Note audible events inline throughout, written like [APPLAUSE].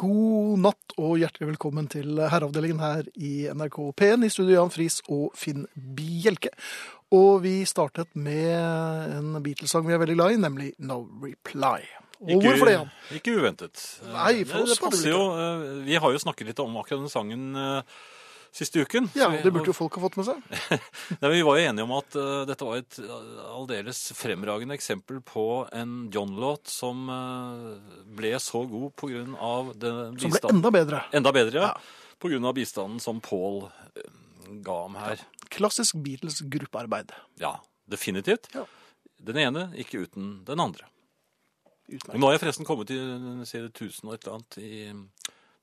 God natt og hjertelig velkommen til herreavdelingen her i NRK P1 i studio Jan Friis og Finn Bjelke. Og vi startet med en Beatles-sang vi er veldig glad i, nemlig No Reply. Og hvorfor det, Jan? Ikke uventet. Nei, for Eh, oss det var det passer vel jo. eh, Vi har jo snakket litt om akkurat den sangen eh, siste uken. Ja, Så vi- Det burde jo folk ha fått med seg. Nei, men vi var jo enige om at eh, dette var et eh, aldeles fremragende eksempel på en John-låt som eh, ble så god på grunn av den Som ble bistanden. enda bedre. Enda bedre, ja. På grunn av bistanden som Paul eh, ga ham her. Klassisk Beatles-gruppearbeid. Ja, definitivt. Ja. Den ene, ikke uten den andre. Og Utmerket. nå har jeg forresten kommet til sier det, 1000 og et eller annet i mm,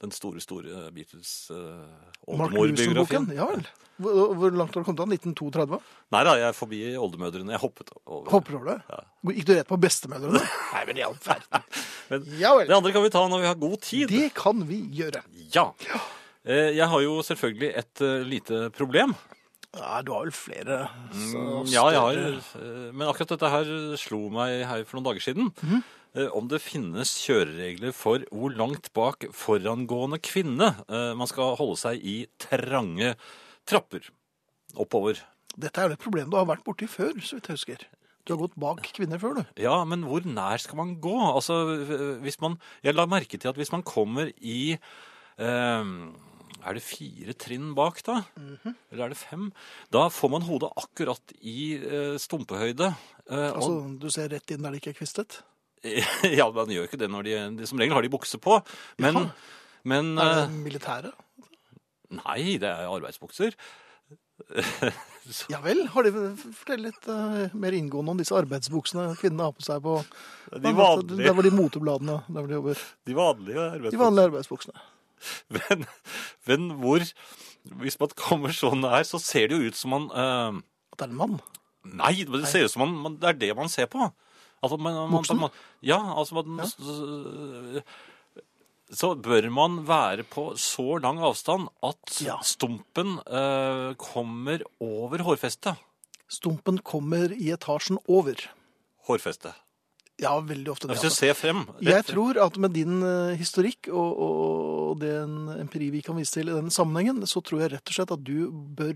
den store, store eh, Mark Lusen-boken. Beatles-oldemor-biografien. Ja vel. Hvor, hvor langt har du kommet da? 1932? Nei da, jeg er forbi oldemødrene. Jeg hoppet over. Hopper over det? Gikk du rett på bestemødrene? Nei, men i all verden. [LAUGHS] Men Ja vel. det andre kan vi ta når vi har god tid. Det kan vi gjøre. Ja. Eh, Jeg har jo selvfølgelig et eh, lite problem. Ja, du har vel flere så- Mm, Ja, jeg har, eh, men akkurat dette her slo meg her for noen dager siden. Mhm. Eh, Om det finnes kjøreregler for hvor langt bak forangående kvinne eh, man skal holde seg i trange trapper oppover. Dette er jo et problem du har vært borti før, så vidt jeg husker. Du har gått bak kvinner før, du. Ja, men hvor nær skal man gå? Altså, øh, hvis man, jeg la merke til at hvis man kommer i ehm, Er det fire trinn bak, da? Mhm. Eller er det fem? Da får man hodet akkurat i eh, stumpehøyde. eh, Altså, Du ser rett inn der det ikke er kvistet. og, [LAUGHS] ja, man gjør ikke det når de, de Som regel har de bukse på. Men, Ja. men Er det eh, militæret? Nei, det er arbeidsbukser. Ja vel? Har de, fortell litt eh, mer inngående om disse arbeidsbuksene kvinnene har på seg på altså, De Der vanlige, var de motebladene der hvor de jobber. de De vanlige arbeidsbuksene. [LAUGHS] vanlige arbeidsbuksene. Men, men hvor Hvis man kommer så nær, så ser det jo ut som man eh, At det er en mann. Nei, men det ser ut som man, man, det er det man ser på. Altså, man, man, Voksen? Man, ja, altså man, Ja. Så, så bør man være på så lang avstand at Ja. stumpen eh, kommer over hårfestet. Stumpen kommer i etasjen over. Hårfestet. Ja, veldig ofte det. Hvis du altså. ser frem. Jeg tror at med din eh, historikk og, og den empiri vi kan vise til i den sammenhengen, så tror jeg rett og slett at du bør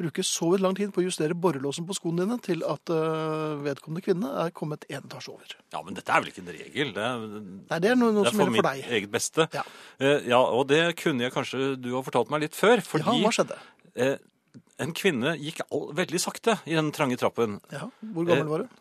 bruke så vidt lang tid på å justere borrelåsen på skoene dine til at eh, vedkommende kvinne er kommet en etasje over. Ja, men dette er vel ikke en regel? Det er, Nei, det er noe, noe det er som for gjelder mitt for deg. eget beste. Ja. Eh, ja, og det kunne jeg kanskje du har fortalt meg litt før. Ja, Fordi hva skjedde? eh, en kvinne gikk all, veldig sakte i den trange trappen. Ja, hvor gammel Eh, var du?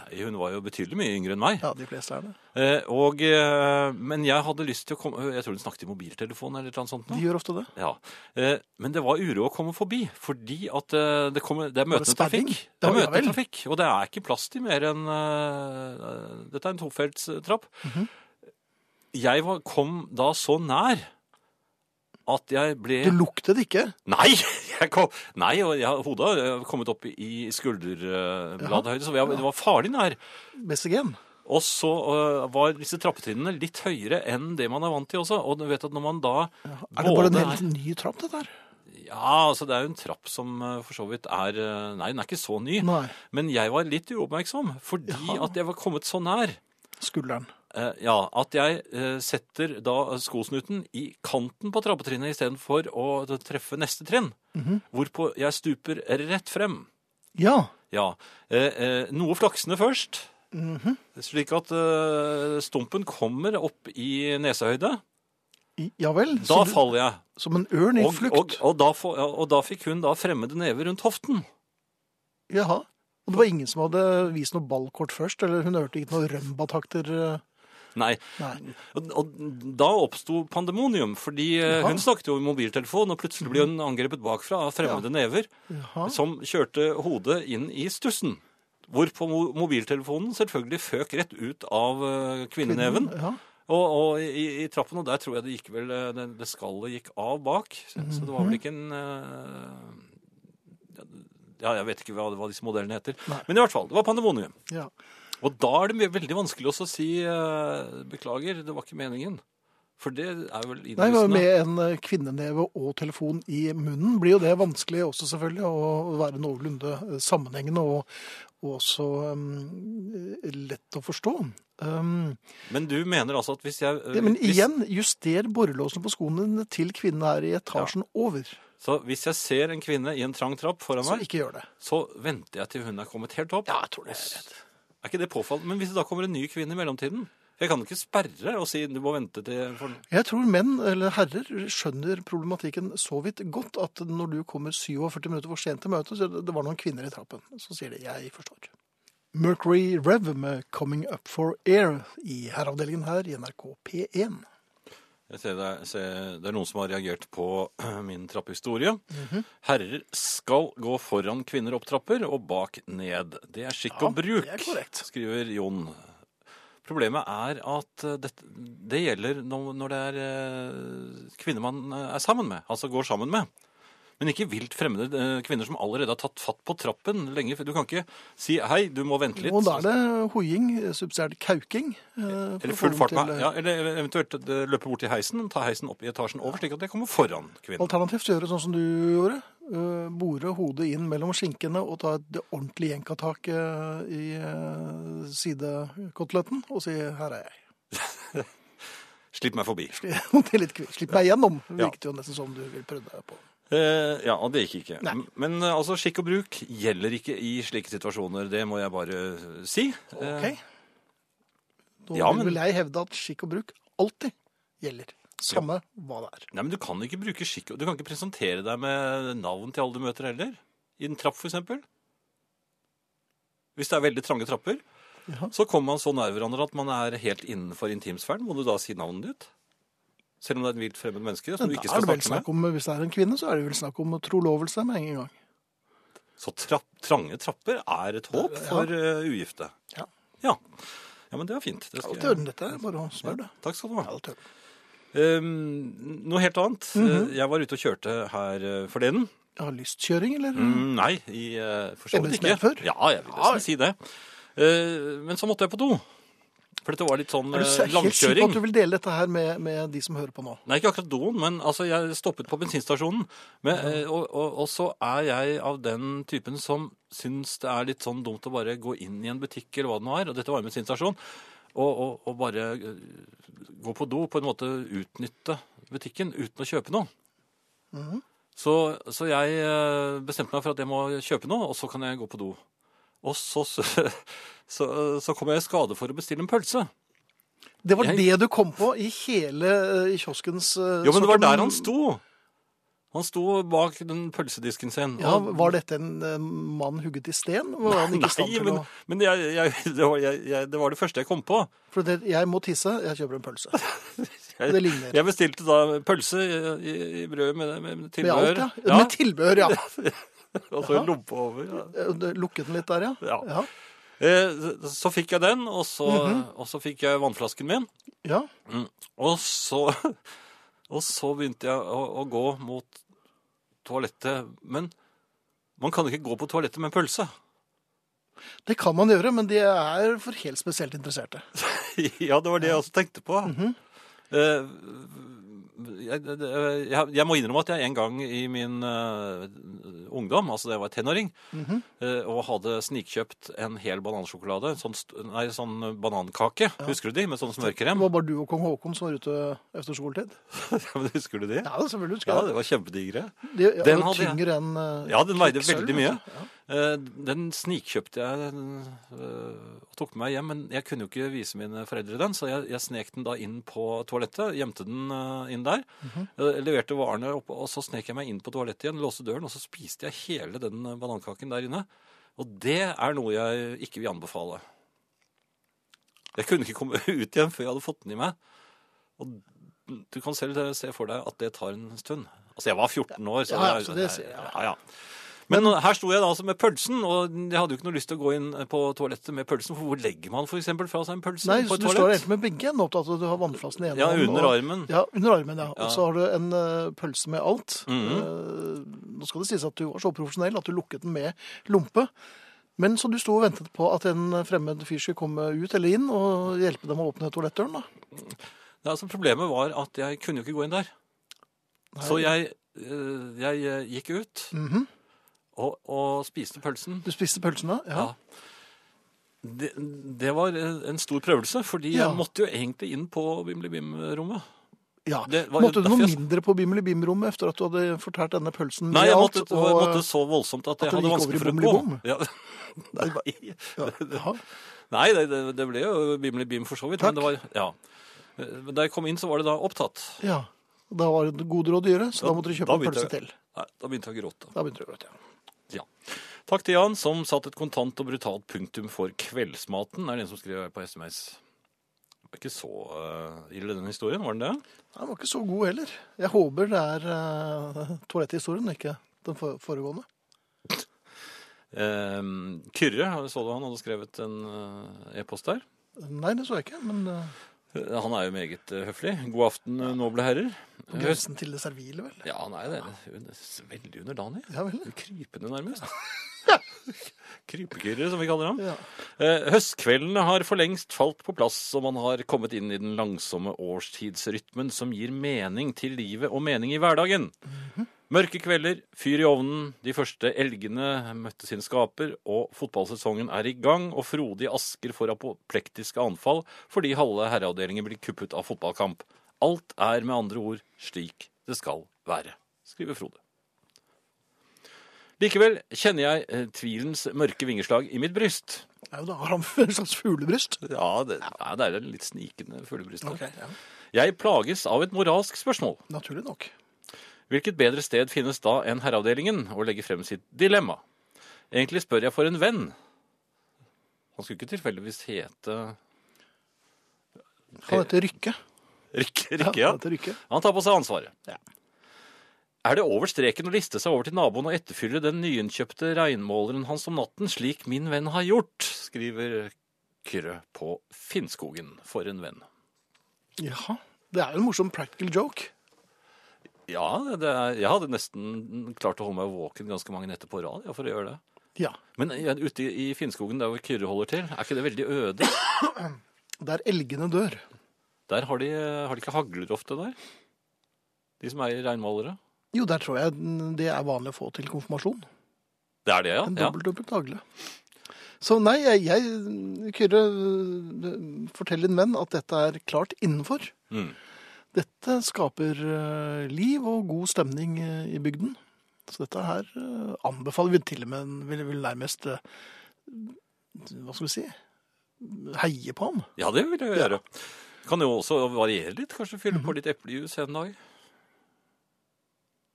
Nei, Hun var jo betydelig mye yngre enn meg. Ja, de fleste er det. Eh, og, eh, men jeg hadde lyst til å komme Jeg tror hun snakket i mobiltelefon eller noe sånt. nå. De gjør ofte det. Ja. Eh, men det var uro å komme forbi, fordi at eh, det, kommer, det er Var det møtende sperring? trafikk. Ja, Det er ja møtende vel. trafikk, og det er ikke plass til mer enn eh, Dette er en tofeltstrapp. Mhm. Jeg var, kom da så nær at jeg ble Du luktet ikke. Nei! [LAUGHS] Jeg kom, nei, og jeg, hodet har eh, kommet opp i skulderbladhøyde, så jeg, det var farlig nær. Bestigen. Og så øh, var disse trappetrinnene litt høyere enn det man er vant til også. Og du vet at når man da Er det bare en både helt ny trapp, dette her? Ja, altså det er jo en trapp som øh, for så vidt er øh, Nei, den er ikke så ny. Nei. Men jeg var litt uoppmerksom fordi Jaha. at jeg var kommet så nær. Skulderen. eh, ja, at jeg eh, setter da skosnuten i kanten på trappetrinnet istedenfor å treffe neste trinn. Mhm. Hvorpå jeg stuper rett frem. Ja. Ja. Eh, eh, noe flaksende først. Mhm. Slik at eh, stumpen kommer opp i nesehøyde. I- Ja vel. Da Som, du, faller jeg. som en ørn i Og, og, flukt. og, da, få- ja, og da fikk hun da fremmede never rundt hoften. Jaha. Og det var ingen som hadde vist noe ballkort først? Eller hun hørte ikke noen rømbatakter? eh? Nei. Nei. Og, og da oppsto pandemonium, fordi eh, Jaha. hun snakket jo i mobiltelefon, og plutselig ble hun angrepet bakfra av fremmede never Jaha. som kjørte hodet inn i stussen. Hvorpå mo- mobiltelefonen selvfølgelig føk rett ut av eh, kvinneneven. Ja. Og, og i, i trappen, og der tror jeg det gikk vel eh, Det, det skallet gikk av bak. Så, så det var Mhm. vel ikke en eh, Ja, jeg vet ikke hva, hva disse modellene heter. Nei. Men i hvert fall, det var pandemonium. ja. Og da er det mye- veldig vanskelig også å si eh, beklager, det var ikke meningen. For det er vel Nei, men innlysende. Med en eh, kvinneneve og telefon i munnen blir jo det vanskelig også, selvfølgelig. Å være noenlunde eh, sammenhengende og, og også eh, lett å forstå. Um, Men du mener altså at hvis jeg eh, det, men hvis, igjen, juster borrelåsene på skoene dine til kvinnen er i etasjen over. Så hvis jeg ser en kvinne i en trang trapp foran Så meg, ikke gjør det. så venter jeg til hun er kommet helt opp. Ja, jeg tror det er er Er ikke det påfallende? Men hvis det da kommer en ny kvinne i mellomtiden? Jeg kan ikke sperre og si du må vente til for... Jeg tror menn, eller herrer, skjønner problematikken så vidt godt at når du kommer 47 minutter for sent til møtet, så er det det var noen kvinner i trappen, så sier de 'jeg forstår'. Mercury Rev med 'Coming Up For Air' i herreavdelingen her i NRK P1. Jeg ser det, er- ser, det er noen som har reagert på [CLEARS THROAT] min trappehistorie. Mhm. Herrer skal gå foran kvinner opp trapper og bak ned. Det er skikk Ja, og bruk, det er korrekt. skriver Jon. Problemet er at eh, dette- det gjelder når, når det er eh, kvinner man eh, er sammen med, altså går sammen med. Men ikke vilt fremmede eh, kvinner som allerede har tatt fatt på trappen lenge. før- Du kan ikke si 'hei, du må vente litt'. sånn. Og da er det hoiing, subsidiært kauking. eh, for Eller å full komme fart til- med, ja, eller, eller eventuelt eh, løpe bort til heisen, ta heisen opp i etasjen over, slik at jeg kommer foran kvinnen. Alternativt gjøre sånn som du gjorde. eh, Bore hodet inn mellom skinkene og ta et ordentlig jenkatak eh, i eh, sidekoteletten og si 'her er jeg'. Slipp meg forbi. [LAUGHS] Sli- det er litt kvi- Slipp meg gjennom, Ja. virket jo nesten som du vil prøve deg på. Eh, ja, og det gikk ikke. Nei. Men eh, altså, skikk og bruk gjelder ikke i slike situasjoner, det må jeg bare eh, si. Eh, Ok? Da ja, men- vil jeg hevde at skikk og bruk alltid gjelder. Samme hva det er. nei, men du kan ikke bruke skikk, og- du kan ikke presentere deg med navn til alle du møter heller. I en trapp, for eksempel. Hvis det er veldig trange trapper, Ja. så kommer man så nær hverandre at man er helt innenfor intimsfæren. Må du da si navnet ditt? Selv om det er et vilt fremmed menneske Men som du da ikke er skal det vel sånn. snakke med. snakk om, Hvis det er en kvinne, så er det vel snakk om trolovelse med en gang. Så trapp, trange trapper er et håp Ja. for eh, ugifte. Ja. ja. Ja, men det er fint. Det skal Alt i jeg- orden, dette er bare å spørre, det. Takk skal du ha. Alt i orden. Ehm, noe helt annet. Mhm. Eh, Jeg var ute og kjørte her eh, forleden. Jeg har lystkjøring, eller? Mm, nei, i, eh, for så vidt Embetsmenn ikke. før? Ja, jeg vil nesten si det. Eh, men så måtte jeg på do. For dette var litt sånn Er du eh, helt sikker på at langkjøring. du vil dele dette her med, med de som hører på nå? Nei, ikke akkurat doen, men altså, jeg stoppet på bensinstasjonen. Men, eh, og, og, og så er jeg av den typen som syns det er litt sånn dumt å bare gå inn i en butikk eller hva det nå er, og dette var en bensinstasjon, og, og, og bare eh, gå på do, på en måte utnytte butikken uten å kjøpe noe. Så, så jeg eh, bestemte meg for at jeg må kjøpe noe, og så kan jeg gå på do. Og så, [LAUGHS] så, så, så kom jeg i skade for å bestille en pølse. Det var Jeg- det du kom på i hele eh, i kioskens eh, Jo, men det var sortiment. der han sto. Han sto bak den pølsedisken sin. Ja, Var dette en eh, mann hugget i sten? Var han ikke i stand Nei, til men, å... men jeg, jeg, [LAUGHS] det, var, jeg, jeg, det var det første jeg kom på. For det, jeg må tisse, jeg kjøper en pølse. Jeg, Det ligner. jeg bestilte da pølse i, i brød med, med, med Med alt, tilbehør. ja. Med tilbehør, ja. og så en lompe over. Ja. Eh, Lukket den litt der, ja. Ja. Ja. Eh, så- så fikk jeg den, og så, Mhm. og så fikk jeg vannflasken min. ja. Og så, [LAUGHS] og så begynte jeg å, å gå mot toalettet. Men man kan ikke gå på toalettet med en pølse. Det kan man gjøre, men det er for helt spesielt interesserte. [LAUGHS] ja, det var det jeg også tenkte på. Eh, jeg, det- jeg, jeg må innrømme at jeg en gang i min eh, ungdom, altså da jeg var tenåring, eh, og hadde snikkjøpt en hel banansjokolade, sånn, st- nei, sånn banankake, husker du de, med sånn Det smørkrem? [LAUGHS] var bare du og kong Haakon som var ute etter skoletid. Ja, men husker du de? Ja, selvfølgelig husker jeg Ja, det. det var kjempedigre. Det ja, den det var hadde jeg. tyngre enn eh, Ja, den veide kvikksølv, veldig mye. vet du. Ja. Eh, Den snikkjøpte jeg eh, og tok med meg hjem, men jeg kunne jo ikke vise mine foreldre den, så jeg, jeg snek den da inn på toalettet, gjemte den eh, inn der, Mhm. eh, leverte varene opp, og så snek jeg meg inn på toalettet igjen, låste døren, og så spiste jeg hele den eh, banankaken der inne. Og det er noe jeg ikke vil anbefale. Jeg kunne ikke komme [LAUGHS] ut igjen før jeg hadde fått den i meg. Og du kan selv eh, se for deg at det tar en stund. Altså, jeg var 14 år, så, Ja, ja, det er- så det ser jeg. ja, ja. Men her sto jeg da altså med pølsen, og jeg hadde jo ikke noe lyst til å gå inn på toalettet med pølsen. For hvor legger man for eksempel fra seg en pølse Nei, på så et du står toalett? egentlig med begge hendene opptatt, og du har vannflassen i ene Ja, hånden, under og- armen. Ja, under armen, ja. Mm. Ja. Og så har du en eh, pølse med alt. Mhm. Eh, nå skal det sies at du var så profesjonell at du lukket den med lompe. Men så du sto og ventet på at en fremmed fyr skulle komme ut eller inn og hjelpe dem å åpne toalettdøren, da? Nei, altså Problemet var at jeg kunne jo ikke gå inn der. Nei. Så jeg, eh, jeg eh, gikk ut Mhm. og, og spiste pølsen. Du spiste pølsene? Ja. Ja. Det, det var en stor prøvelse, fordi Ja. jeg måtte jo egentlig inn på Bimli-Bim-rommet. Ja. Det var- Måtte du noe derfor jeg- mindre på Bimli-Bim-rommet etter at du hadde fortært denne pølsen? Nei, jeg gjaldt, måtte, og- måtte så voldsomt at, at jeg det hadde gikk over i vanskelig for å gå. Bimli-Bom? Ja. [LAUGHS] Nei, det Nei, Ja, Nei det, det, det ble jo Bimli-Bim for så vidt. Men det var, ja. Men da jeg kom inn, så var det da opptatt. ja. Da var det gode råd å gjøre, så da, Da- måtte du kjøpe da en pølse begynte jeg- til. Nei, da begynte jeg å gråte. Da begynte du å gråte. ja. Ja. Takk til Jan, som satt et kontant og brutalt punktum for kveldsmaten. er det en som skrev her på SMS. Det var ikke så eh, ille, den historien, var den det? Den var ikke så god heller. Jeg håper det er eh, toaletthistorien, ikke den for foregående. Eh, Kyrre, så du han hadde skrevet en eh, e-post der? Nei, det så jeg ikke, men eh, Eh, Han er jo meget eh, høflig. God aften, eh, noble herrer. på grensen til det servile, vel. Ja, han er jo det. Hun er Veldig underdanig. Ja vel. Krypende, nærmest. [LAUGHS] Krypekyrre, som vi kaller ham. Ja. Eh, Høstkveldene har for lengst falt på plass, og man har kommet inn i den langsomme årstidsrytmen som gir mening til livet og mening i hverdagen. Mørke kvelder, fyr i ovnen, de første elgene møtte sin skaper, og fotballsesongen er i gang, og frodig Asker får apoplektiske anfall fordi halve herreavdelingen blir kuppet av fotballkamp. Alt er med andre ord slik det skal være, skriver Frode. Likevel kjenner jeg eh, tvilens mørke vingeslag i mitt bryst. Ja, da har han en slags fuglebryst. Ja, det, nei, det er en litt snikende fuglebryst. der. ja. Jeg plages av et moralsk spørsmål. Naturlig nok. Hvilket bedre sted finnes da enn herreavdelingen å legge frem sitt dilemma? Egentlig spør jeg for en venn. Han skulle ikke tilfeldigvis hete Han heter Rykke. Rikke, Rikke Eh, ja. han heter Rykke. Han tar på seg ansvaret. Ja. Er det over streken å liste seg over til naboen og etterfylle den nyinnkjøpte regnmåleren hans om natten, slik min venn har gjort, skriver Kyrre på Finnskogen for en venn. Jaha. Det er jo en morsom practical joke. Ja, det er, jeg hadde nesten klart å holde meg våken ganske mange netter på rad ja, for å gjøre det. Ja. Men ja, ute i Finnskogen, der hvor Kyrre holder til, er ikke det veldig øde? Der elgene dør. Der har de, har de ikke hagler ofte der? De som eier reinmalere? Jo, der tror jeg den- det er vanlig å få til konfirmasjon. Det er det, ja. En ja. dobbeltdumpet hagle. Så nei, jeg, jeg Kyrre, øh, fortell din venn at dette er klart innenfor. Mm. Dette skaper øh, liv og god stemning øh, i bygden. Så dette her øh, anbefaler vi til og med en- vil, vil nærmest øh, Hva skal vi si? Heie på ham. Ja, Mhm. det vil jeg gjøre. Kan jo også variere litt, kanskje fylle på litt eplejus en dag.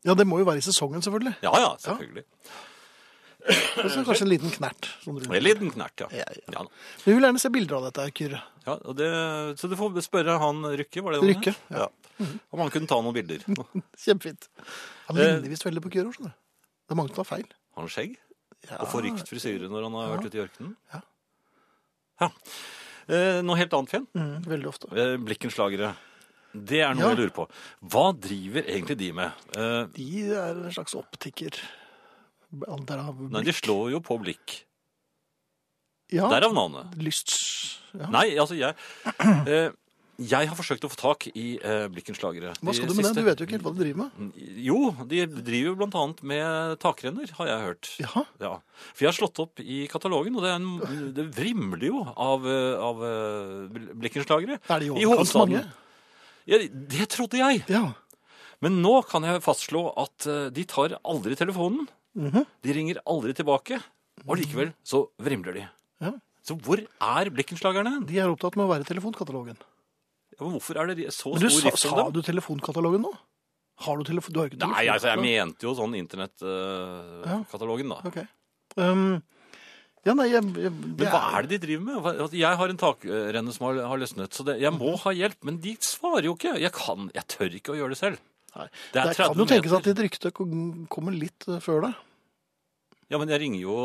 Ja, det må jo være i sesongen, selvfølgelig. Ja, ja, selvfølgelig. Og så kanskje en liten knert. Sånn Og en rundt. liten knert, ja. Ja, ja. ja. da. Vi vil gjerne se bilder av dette, her, Kyrre. ja og det, så du får spørre han Rykke, var det det han Rykke, het? ja. Om han kunne ta noen [LAUGHS] bilder. Kjempefint. Han Eh. ligner visst veldig på Kyrre. skjønner du. Det er mange som har feil. Har han skjegg? Ja. Og forrykt frisyre når han har vært ute i ørkenen? Ja. Ja. Eh, noe helt annet, Finn. Mm, veldig ofte. Eh, Blikkenslagere. Det er Ja. noe jeg lurer på. Hva driver egentlig de med? Eh, De er en slags optiker. Derav nei, de slår jo på blikk. ja, Derav navnet. lysts... Ja. Nei, altså jeg eh, Jeg har forsøkt å få tak i eh, blikkenslagere. Hva skal du med det? Du vet jo ikke helt hva du driver med. Jo, de driver jo blant annet med takrenner, har jeg hørt. Jaha, Ja, For jeg har slått opp i katalogen, og det, er en, det vrimler jo av, eh, av eh, blikkenslagere. er det i I overkant mange? hovedstaden. Ja, det trodde jeg. Ja. Men nå kan jeg fastslå at eh, de tar aldri telefonen. Mhm. De ringer aldri tilbake. Og likevel så vrimler de. Ja. Så hvor er blikkenslagerne? De er opptatt med å være telefonkatalogen. Ja, men Hvorfor er det de- så Men du, stor sa, rift om sa dem? du telefonkatalogen nå? Har du telefon... Du har jo ikke telefon? Nei, altså, jeg mente jo sånn internettkatalogen, da. Ok. Um, ja, nei, jeg, jeg Men hva er det de driver med? Hva- altså, Jeg har en takrenne som har, har løsnet, så det, jeg må ha hjelp. Men de svarer jo ikke. Jeg, kan, jeg tør ikke å gjøre det selv. Nei, Det er Det kan 30 jo tenkes at meter. ditt rykte kom- kommer litt eh, før deg. Ja, men jeg ringer jo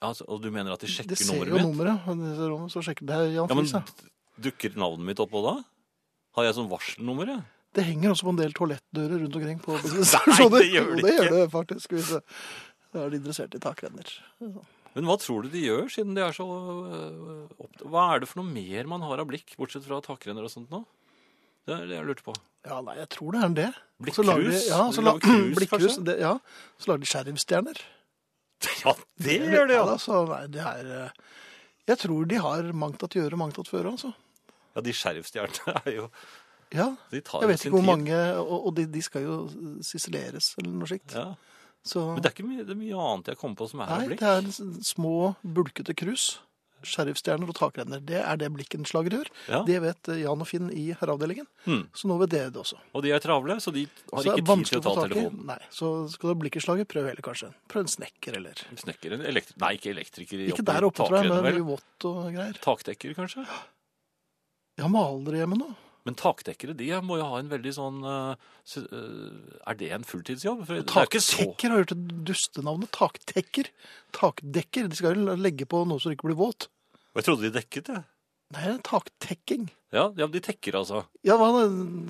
altså, Og du mener at de De sjekker ser jo nummeret mitt? nummeret. og de ser om- Så sjekker det er Jan Ja, men Friis, ja. dukker navnet mitt oppå da? Har jeg sånn varselnummer, jeg? Det henger også på en del toalettdører rundt omkring. På, [LAUGHS] Nei, det gjør det det gjør det faktisk. Hvis det, da er de interessert i takrenner. Men hva tror du de gjør, siden de er så øh, opptatt? Hva er det for noe mer man har av blikk, bortsett fra takrenner og sånt nå? Det er det jeg lurte på. [LAUGHS] Ja, nei, jeg tror det er en det. Blikkrus? Så lager de- Ja, så De la, lager [CLEARS THROAT] krus, blikkrus kanskje? det, ja, så lager de sheriffstjerner. Ja, det da, så, nei, det er eh, Jeg tror de har mangt at gjøre, mangt at føre, altså. Ja, de skjervstjernene er jo Ja, De tar jeg jo vet sin ikke hvor tid. mange, og, og de, de skal jo siseleres eller noe slikt. Ja. Så, Men det er ikke mye, det er mye annet jeg kommer på som er av nei, blikk. det er s- små, bulkete krus, skjervstjerner og takrenner. Det er det blikkenslaget gjør. Ja. Det vet eh, Jan og Finn i herreavdelingen, Mm. så nå vet dere det også. Og de er travle, så de har Så det er ikke tid til vanskelig å få ta tak i. telefonen. Nei, så skal du ha blikkenslaget, prøv heller kanskje. Prøv en snekker eller... Snekker en elektri... Nei, ikke elektriker. i Ikke der oppe, tror jeg, takrennet, men vel? mye vått og greier. Takdekker, kanskje? Jeg har malere hjemme nå. Men takdekkere de må jo ha en veldig sånn eh, sy- eh, Er det en fulltidsjobb? For det er ikke så Taktekker har jeg hørt et dustenavnet. Taktekker. Takdekker. De skal jo legge på noe så det ikke blir våt. Jeg trodde de dekket, jeg. Nei, det er taktekking. Ja, ja, de tekker, altså. Ja, hva,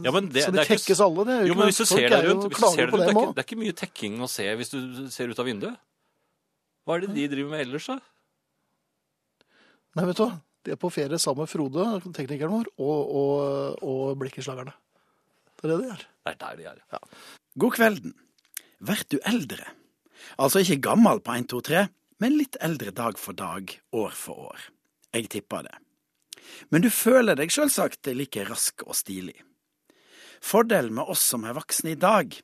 Ja, men det- så de det er ikke s- tekkes alle, det. er Jo, ikke men noe- hvis du folk ser deg er jo rundt, hvis du klager ser deg på rundt dem det, er ikke, også. det er ikke mye tekking å se hvis du ser ut av vinduet. Hva er det de driver med ellers, da? Nei, vet du hva. De er på ferie sammen med Frode, teknikeren vår, og, og, og blikkenslagerne. Det er det de er. Det er der de er. God kvelden. Vert du eldre? Altså ikke gammel på 1, 2, 3, men litt eldre dag for dag, år for år. Jeg tipper det. Men du føler deg selvsagt like rask og stilig. Fordelen med oss som er voksne i dag,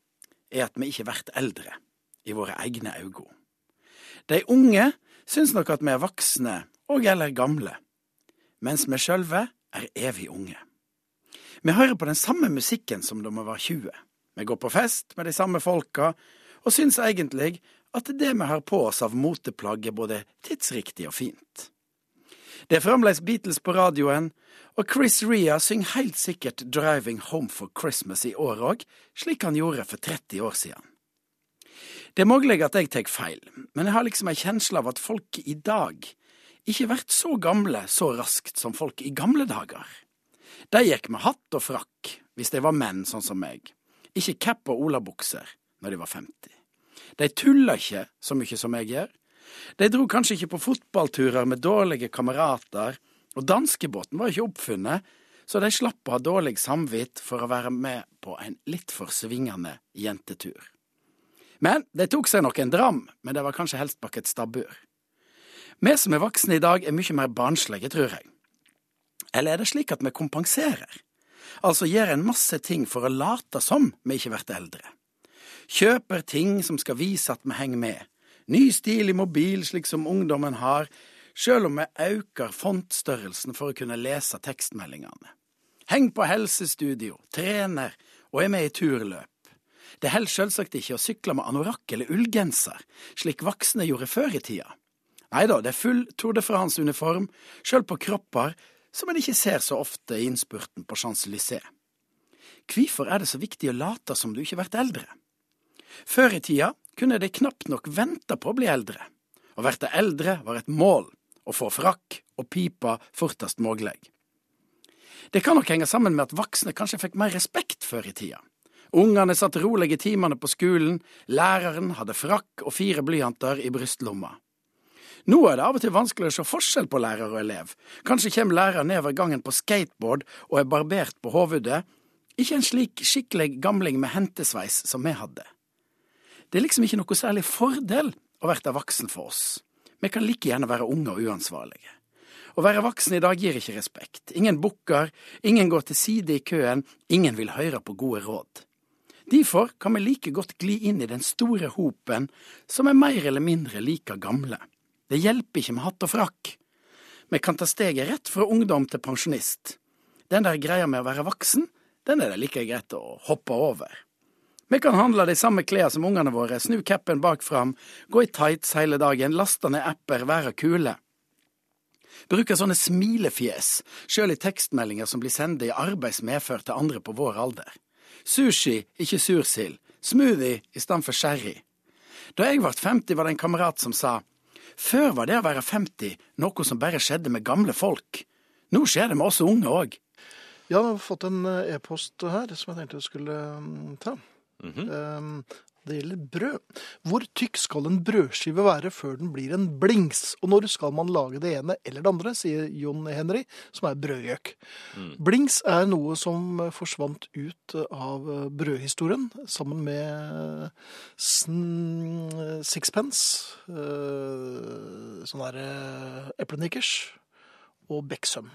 er at vi ikke blir eldre, i våre egne øyne. De unge syns nok at vi er voksne og eller gamle, mens vi sjølve er evig unge. Vi hører på den samme musikken som da vi var 20. Vi går på fest med de samme folka, og syns egentlig at det vi har på oss av moteplagg er både tidsriktig og fint. Det er fremdeles Beatles på radioen, og Chris Rea synger helt sikkert Driving Home for Christmas i år òg, slik han gjorde for 30 år siden. Det er mulig at jeg tar feil, men jeg har liksom ei kjensle av at folk i dag ikke blir så gamle så raskt som folk i gamle dager. De gikk med hatt og frakk, hvis de var menn sånn som meg. Ikke cap og olabukser når de var 50. De tulla ikke så mye som jeg gjør. De dro kanskje ikke på fotballturer med dårlige kamerater, og danskebåten var ikke oppfunnet, så de slapp å ha dårlig samvitt for å være med på en litt for svingende jentetur. Men de tok seg nok en dram, men det var kanskje helst bak et stabbur. Vi som er voksne i dag, er mye mer barnslige, tror jeg. Eller er det slik at vi kompenserer? Altså gjør en masse ting for å late som vi ikke blir eldre. Kjøper ting som skal vise at vi henger med. Ny stil i mobil, slik som ungdommen har, sjøl om vi øker fontstørrelsen for å kunne lese tekstmeldingene. Heng på helsestudio, trener og er med i turløp. Det holder sjølsagt ikke å sykle med anorakk eller ullgenser, slik voksne gjorde før i tida. Nei da, det er full Tour de France-uniform, sjøl på kropper som en ikke ser så ofte i innspurten på Champs-Élysées. Hvorfor er det så viktig å late som du ikke blir eldre? Før i tida kunne de knapt nok vente på å bli eldre. Å verte eldre var et mål, å få frakk og pipa fortest mulig. Det kan nok henge sammen med at voksne kanskje fikk mer respekt før i tida. Ungene satt rolig i timene på skolen, læreren hadde frakk og fire blyanter i brystlomma. Nå er det av og til vanskelig å se forskjell på lærer og elev. Kanskje kommer læreren nedover gangen på skateboard og er barbert på hovedet. Ikke en slik skikkelig gamling med hentesveis som vi hadde. Det er liksom ikke noe særlig fordel å være voksen for oss. Vi kan like gjerne være unge og uansvarlige. Å være voksen i dag gir ikke respekt. Ingen bukker, ingen går til side i køen, ingen vil høre på gode råd. Derfor kan vi like godt gli inn i den store hopen som er mer eller mindre like gamle. Det hjelper ikke med hatt og frakk. Vi kan ta steget rett fra ungdom til pensjonist. Den der greia med å være voksen, den er det like greit å hoppe over. Vi kan handle de samme klærne som ungene våre, snu capen bak fram, gå i tights hele dagen, laste ned apper, være kule. Bruke sånne smilefjes, sjøl i tekstmeldinger som blir sendt i arbeid som er medført til andre på vår alder. Sushi, ikke sursild. Smoothie istedenfor sherry. Da jeg ble 50, var det en kamerat som sa før var det å være 50 noe som bare skjedde med gamle folk. Nå skjer det med oss unge òg. Jeg har fått en eh, e-post her som jeg tenkte jeg skulle mm, ta. Eh, Det gjelder brød. Hvor tykk skal en brødskive være før den blir en blings? Og når skal man lage det ene eller det andre, sier Jon Henry, som er brødgjøk. Blings er noe som eh, forsvant ut eh, av eh, brødhistorien, sammen med eh, sn- sixpence, sånn eh, sånne der eh, eplenikkers. og Beksøm.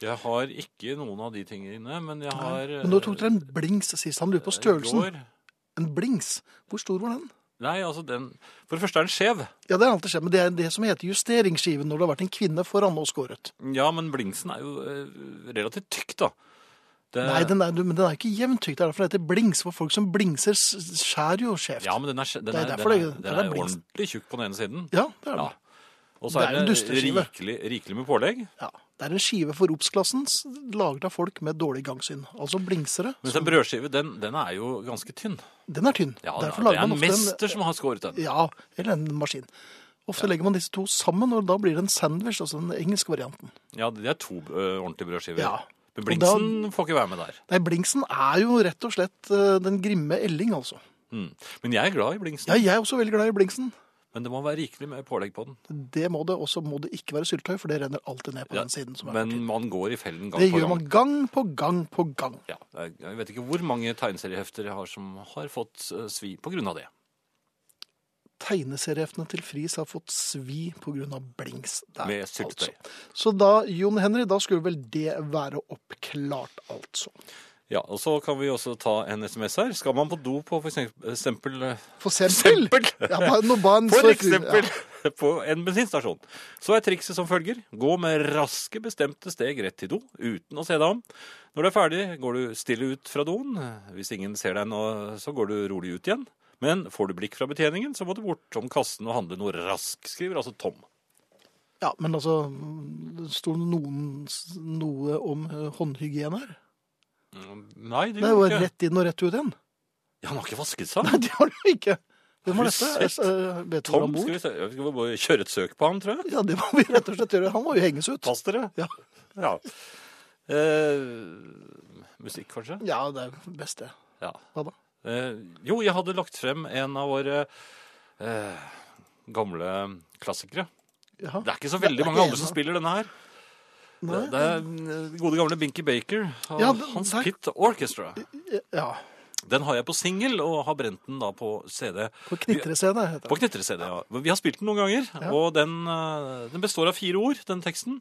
Jeg har ikke noen av de tingene, men jeg har eh, Men nå tok dere en blings sist. Han lurer på størrelsen. En blings. Hvor stor var den? Nei, altså den For det første er den skjev. Ja, det har alltid skjedd, men det er det som heter justeringsskiven når det har vært en kvinne foran og skåret. Ja, men blingsen er jo eh, relativt tykk, da. Det- Nei, den er, men den er ikke jevnt tykk. Det er derfor det heter blings. For folk som blingser, s- skjærer jo skjevt. Ja, men den er, skje- den Det er er, derfor den er, det- den det er er blingsen. ordentlig tjukk på den ene siden. Ja, det er den. Ja. Og så Det er er en det dusteskive. rikelig, rikelig med pålegg. Ja. Det er en skive for obs-klassen s- laget av folk med dårlig gangsyn. Altså blingsere. Mens en brødskive, den, den er jo ganske tynn. Den er tynn. Ja, Derfor det lager er man en ofte mester en som har skåret den. Ja, eller en maskin. Ofte legger man disse to sammen, og da blir det en sandwich, altså den engelske varianten. Ja, det er to eh, ordentlige brødskiver. Ja. Men Og da- blingsen får ikke være med der. Nei, blingsen er jo rett og slett eh, den grimme Elling, altså. Mm. Men jeg er glad i blingsen. Ja, jeg er også veldig glad i blingsen. Men det må være rikelig med pålegg på den. Det må det, og så må det ikke være syltetøy, for det renner alltid ned på Ja, den siden. som er Men man går i fellen gang Det på gjør gang. man gang på gang på gang. Ja, jeg jeg vet ikke hvor mange tegneseriehefter jeg har som har fått eh, svi på grunn av det. Tegneserieheftene til Friis har fått svi pga. blings der. altså. Med syltetøy. Så da, Jon Henry, da skulle vel det være oppklart, altså. Ja, og så kan vi også ta en SMS her. Skal man på do på for eksempel, eh, For eksempel! Ja, bare- nå ba en for så- eksempel Ja. [LAUGHS] på en bensinstasjon, så er trikset som følger. Gå med raske, bestemte steg rett til do, uten å se deg om. Når du er ferdig, går du stille ut fra doen. Hvis ingen ser deg nå, så går du rolig ut igjen. Men får du blikk fra betjeningen, så må du bortom kassen og handle noe rask, skriver altså Tom. ja, men altså Det sto noen, noe om eh, håndhygiene her. Mm, Nei, det Det var gjorde ikke. rett inn og rett ut igjen. Ja, han har ikke vasket seg. Nei, [LAUGHS] det var det jo ikke. Hvem var dette? Har du sett? Eh, Vet du hvor Tom, han skal bor? vi, se- skal vi bare kjøre et søk på han, tror jeg? Ja, det må vi rett og slett gjøre. Han må jo henges ut. Pass dere. Ja. Ja. Eh, musikk, kanskje? Ja, det er jo best det. Ja. Hva da? Eh, jo, jeg hadde lagt frem en av våre eh, gamle klassikere. Jaha. Det er ikke så Det veldig er mange ikke en andre som av- spiller denne her. Det, Nei. det er eh, gode gamle Binky Baker og Ja, det- Hans der- Pitt Orchestra. Ja. Den har jeg på singel og har brent den da på CD. På knitrescene heter På det. knitrescd, ja. Men Vi har spilt den noen ganger, Ja. og den, eh, den består av fire ord, den teksten.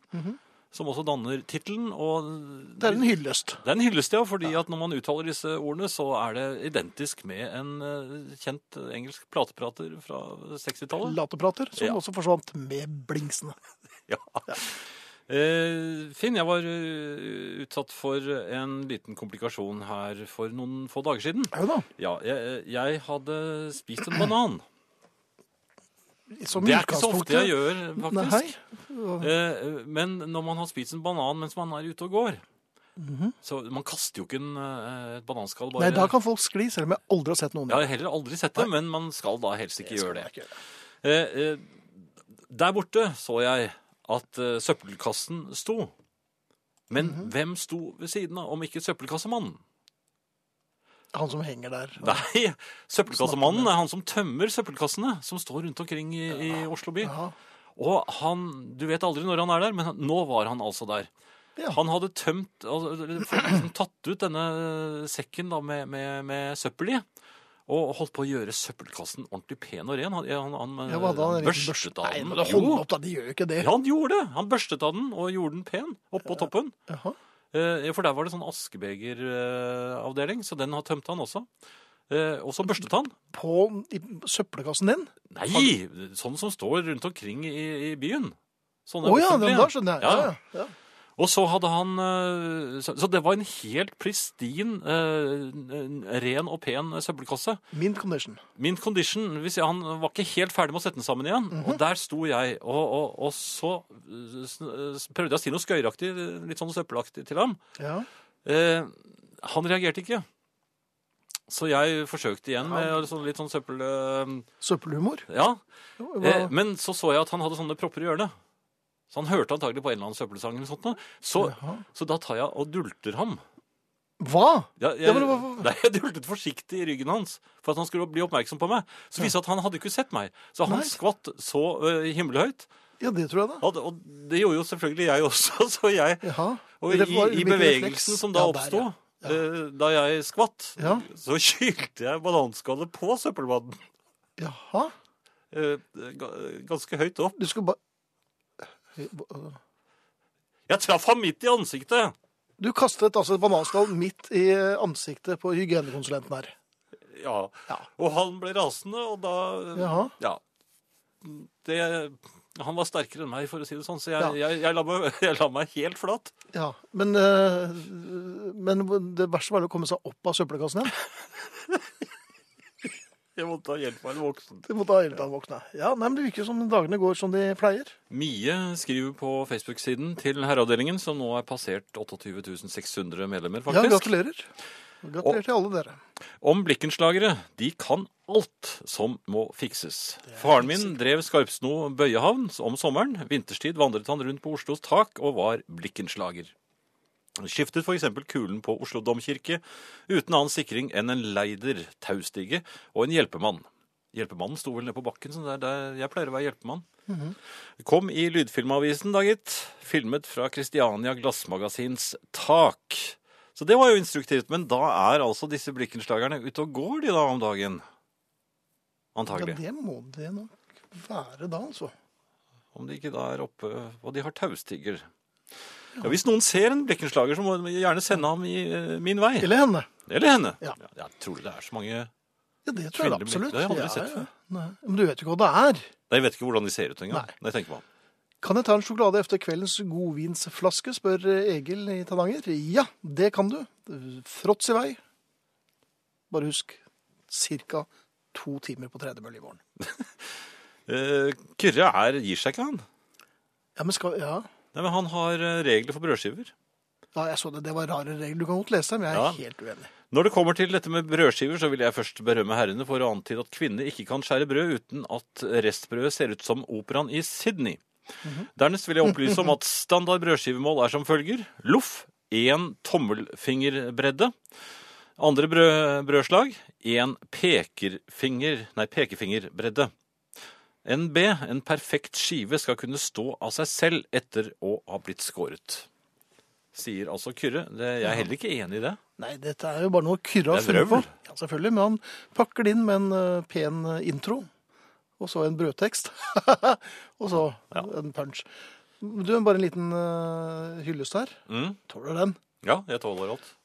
Som også danner tittelen. Og Mhm. Det er en hyllest. det er en hyllest, ja, fordi at når man uttaler disse ordene, så er det identisk med en eh, kjent engelsk plateprater fra 60-tallet. Laterprater, som Ja. også forsvant med blingsene. Ja. Eh, Finn, jeg var eh, utsatt for en liten komplikasjon her for noen få dager siden. Ja da. Ja, jeg, jeg hadde spist en banan. Som Det er ikke så ofte jeg gjør, faktisk. Nei. Eh, Men når man har spist en banan mens man er ute og går Så man kaster jo ikke en eh, et bananskall bare Mhm. Nei, da kan folk skli, selv om jeg aldri har sett noen Jeg har heller aldri sett det, men man skal da helst ikke gjøre det. Eh, eh, Der borte så jeg at eh, søppelkassen sto. Men hvem sto ved siden av, om ikke søppelkassemannen? Han som henger der. Nei, søppelkassemannen er han som tømmer søppelkassene som står rundt omkring i, i Oslo by. Ja. Og han, du vet aldri når han er der, men han- nå var han altså der. Ja. Han hadde tømt, altså, eller fått liksom tatt ut denne sekken da, med, med, med søppel i, og holdt på å gjøre søppelkassen ordentlig pen og ren. Han, han, han, Ja, hva da? han En liten børstet av Nei, den. men det Jo, holder opp, da. De gjør jo ikke det. ja, han gjorde det! Han børstet av den og gjorde den pen oppå toppen. Jaha. Eh, for der var det sånn askebegeravdeling, så den har tømt han også. Eh, og så børstet han. På i søppelkassen din? Nei! Sånn som står rundt omkring i, i byen. Å Sånne ja, den offentlige. der skjønner jeg. Ja. Ja, ja. ja. Og så hadde han eh, Så så det var en helt pristin, eh, en ren og pen søppelkasse. Min condition. Min condition hvis jeg, Han var ikke helt ferdig med å sette den sammen igjen. Og der sto jeg, og, og, og så eh, sn- eh, prøvde jeg å si noe skøyeraktig, litt sånn søppelaktig til ham. Ja. Eh, han reagerte ikke. Så jeg forsøkte igjen med sånn, litt sånn søppel... eh, Søppelhumor. Ja. Eh, Hva- men så så jeg at han hadde sånne propper i hjørnet. Så han hørte antagelig på en eller annen søppelsang eller sånt. noe. Så, Jaha. så da tar jeg og dulter ham. Hva? Ja, jeg, Ja, men hva- [LAUGHS] Nei, jeg dultet forsiktig i ryggen hans for at han skulle bli oppmerksom på meg. Så viste det seg at han hadde ikke sett meg. Så han Nei. skvatt så ø, himmelhøyt. Ja, det tror jeg, da. Og, og det gjorde jo selvfølgelig jeg også. [LAUGHS] Så jeg, Jaha. og i, Det var- i hvilken bevegelsen refleks? som da Ja, der, oppsto, ja. ø, da jeg skvatt, Ja. så [LAUGHS] kylte jeg bananskallet på søppelmannen. øh, Jaha. ø, ga- ganske høyt opp. Du skulle bare Jeg traff ham midt i ansiktet! Du kastet altså et bananskall midt i eh, ansiktet på hygienekonsulenten her. Ja. Ja. Og han ble rasende, og da øh, Jaha. Ja. Det, han var sterkere enn meg, for å si det sånn, så jeg, Ja. jeg, jeg, la, meg, [LAUGHS] jeg la meg helt flat. Ja, men, eh, men det verste var jo å komme seg opp av søppelkassen igjen. [LAUGHS] Jeg måtte ha hjelp av en voksen. Du måtte ha hjelp av å våkne. Ja, nei, men Det virker som dagene går som de pleier. Mie skriver på Facebook-siden til Herreavdelingen, som nå er passert 28 600 medlemmer, Ja, faktisk. gratulerer. Gratulerer til alle dere. Om blikkenslagere, de kan alt som må fikses. Faren min drev Skarpsno bøyehavn om sommeren. Vinterstid vandret han rundt på Oslos tak og var blikkenslager. Skiftet f.eks. kulen på Oslo domkirke uten annen sikring enn en leider, taustige og en hjelpemann. Hjelpemannen sto vel nede på bakken, så det er der jeg pleier å være hjelpemann. Mhm. Kom i Lydfilmavisen, da gitt. Filmet fra Kristiania Glassmagasins tak. Så det var jo instruktivt, men da er altså disse blikkenslagerne ute og går de da om dagen? Ja, Antagelig. det må det nok være da, altså. Om de ikke da er oppe, og de har taustigger. Ja, Hvis noen ser en blikkenslager, så må de gjerne sende ham i eh, min vei. Eller henne. Eller henne. Ja. Jeg tror det er så mange Ja, det tror jeg Kvinnelige absolutt. blikker, det har jeg aldri Ja, sett ja. før. Nei, Men du vet jo ikke hva det er. Nei, Jeg vet ikke hvordan de ser ut engang. Nei. Det tenker man. Kan jeg ta en sjokolade efter kveldens godvinsflaske, spør eh, Egil i Tananger. Ja, det kan du. Fråts i vei. Bare husk, ca. to timer på tredemølle i morgen. Eh, Kyrre er, gir seg ikke, han. Ja, men skal, ja. Nei, men Han har eh, regler for brødskiver. ja, jeg så det. Det var rare regler. Du kan godt lese dem, jeg er Ja. helt uenig. Når det kommer til dette med brødskiver, så vil jeg først berømme herrene for å antyde at kvinner ikke kan skjære brød uten at restbrødet ser ut som operaen i Sydney. Dernest vil jeg opplyse om at standard brødskivemål er som følger. Loff, én tommelfingerbredde. Andre brød, brødslag, én pekerfinger, nei, pekefingerbredde. En B, en perfekt skive, skal kunne stå av seg selv etter å ha blitt skåret. Sier altså Kyrre. Det, jeg er heller ikke enig i det. Nei, dette er jo bare noe Kyrre har Det er funnet på. vrøvl. Ja, selvfølgelig. Men han pakker det inn med en eh, pen eh, intro, og så en brødtekst. [LAUGHS] og så Ja. en punch. Du, bare en liten eh, hyllest her. Mm. Tåler du den? Ja, jeg tåler alt.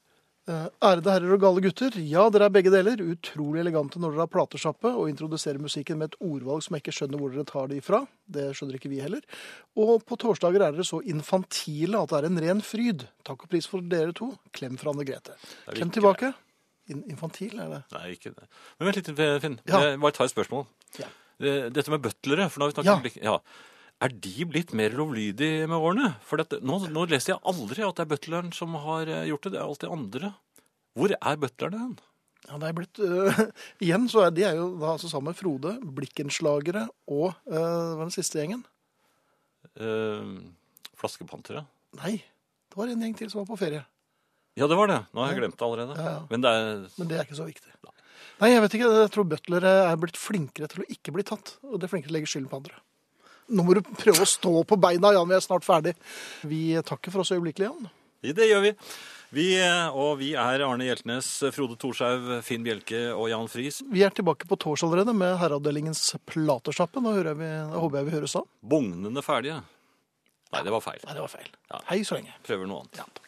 Eh, Ærede herrer og gale gutter. Ja, dere er begge deler. Utrolig elegante når dere har platesjappe og introduserer musikken med et ordvalg som jeg ikke skjønner hvor dere tar det ifra. Det skjønner ikke vi heller. Og på torsdager er dere så infantile at det er en ren fryd. Takk og pris for dere to. Klem fra Anne Grete. er Klem ikke tilbake. In infantil er det. Nei, ikke det. Men vent litt, Finn. Ja. Jeg bare tar et spørsmål. Ja. Eh, Dette med butlere, for nå har vi snakket Ja. om blikk... Ja. Er de blitt mer lovlydige med årene? For dette, nå, nå leser jeg aldri at det er butleren som har eh, gjort det. Det er alltid andre. Hvor er butlerne hen? Ja, det er blitt øh, [LAUGHS] Igjen så er de er jo da altså sammen med Frode, Blikkenslagere og øh, Hva var den siste gjengen? Eh, flaskepantere? Nei, det var en gjeng til som var på ferie. Ja, det var det. Nå har jeg glemt det allerede. Ja, ja. Men det er Men det er ikke så viktig. Nei, jeg vet ikke. Jeg tror butlere er blitt flinkere til å ikke bli tatt. Og det er flinkere til å legge skylden på andre. Nå må du prøve å stå på beina, Jan. Vi er snart ferdig. Vi takker for oss øyeblikkelig, Jan. Det gjør vi. vi. eh, Og vi er Arne Hjeltnes, Frode Thorshaug, Finn Bjelke og Jan Friis. Vi er tilbake på torsdag allerede med Herreavdelingens platesjappe. Nå hører jeg vi, da håper jeg vi høres da. Bugnende ferdige. Nei, det var feil. Nei, det var feil. Ja. Hei så lenge. Prøver noe annet. Ja.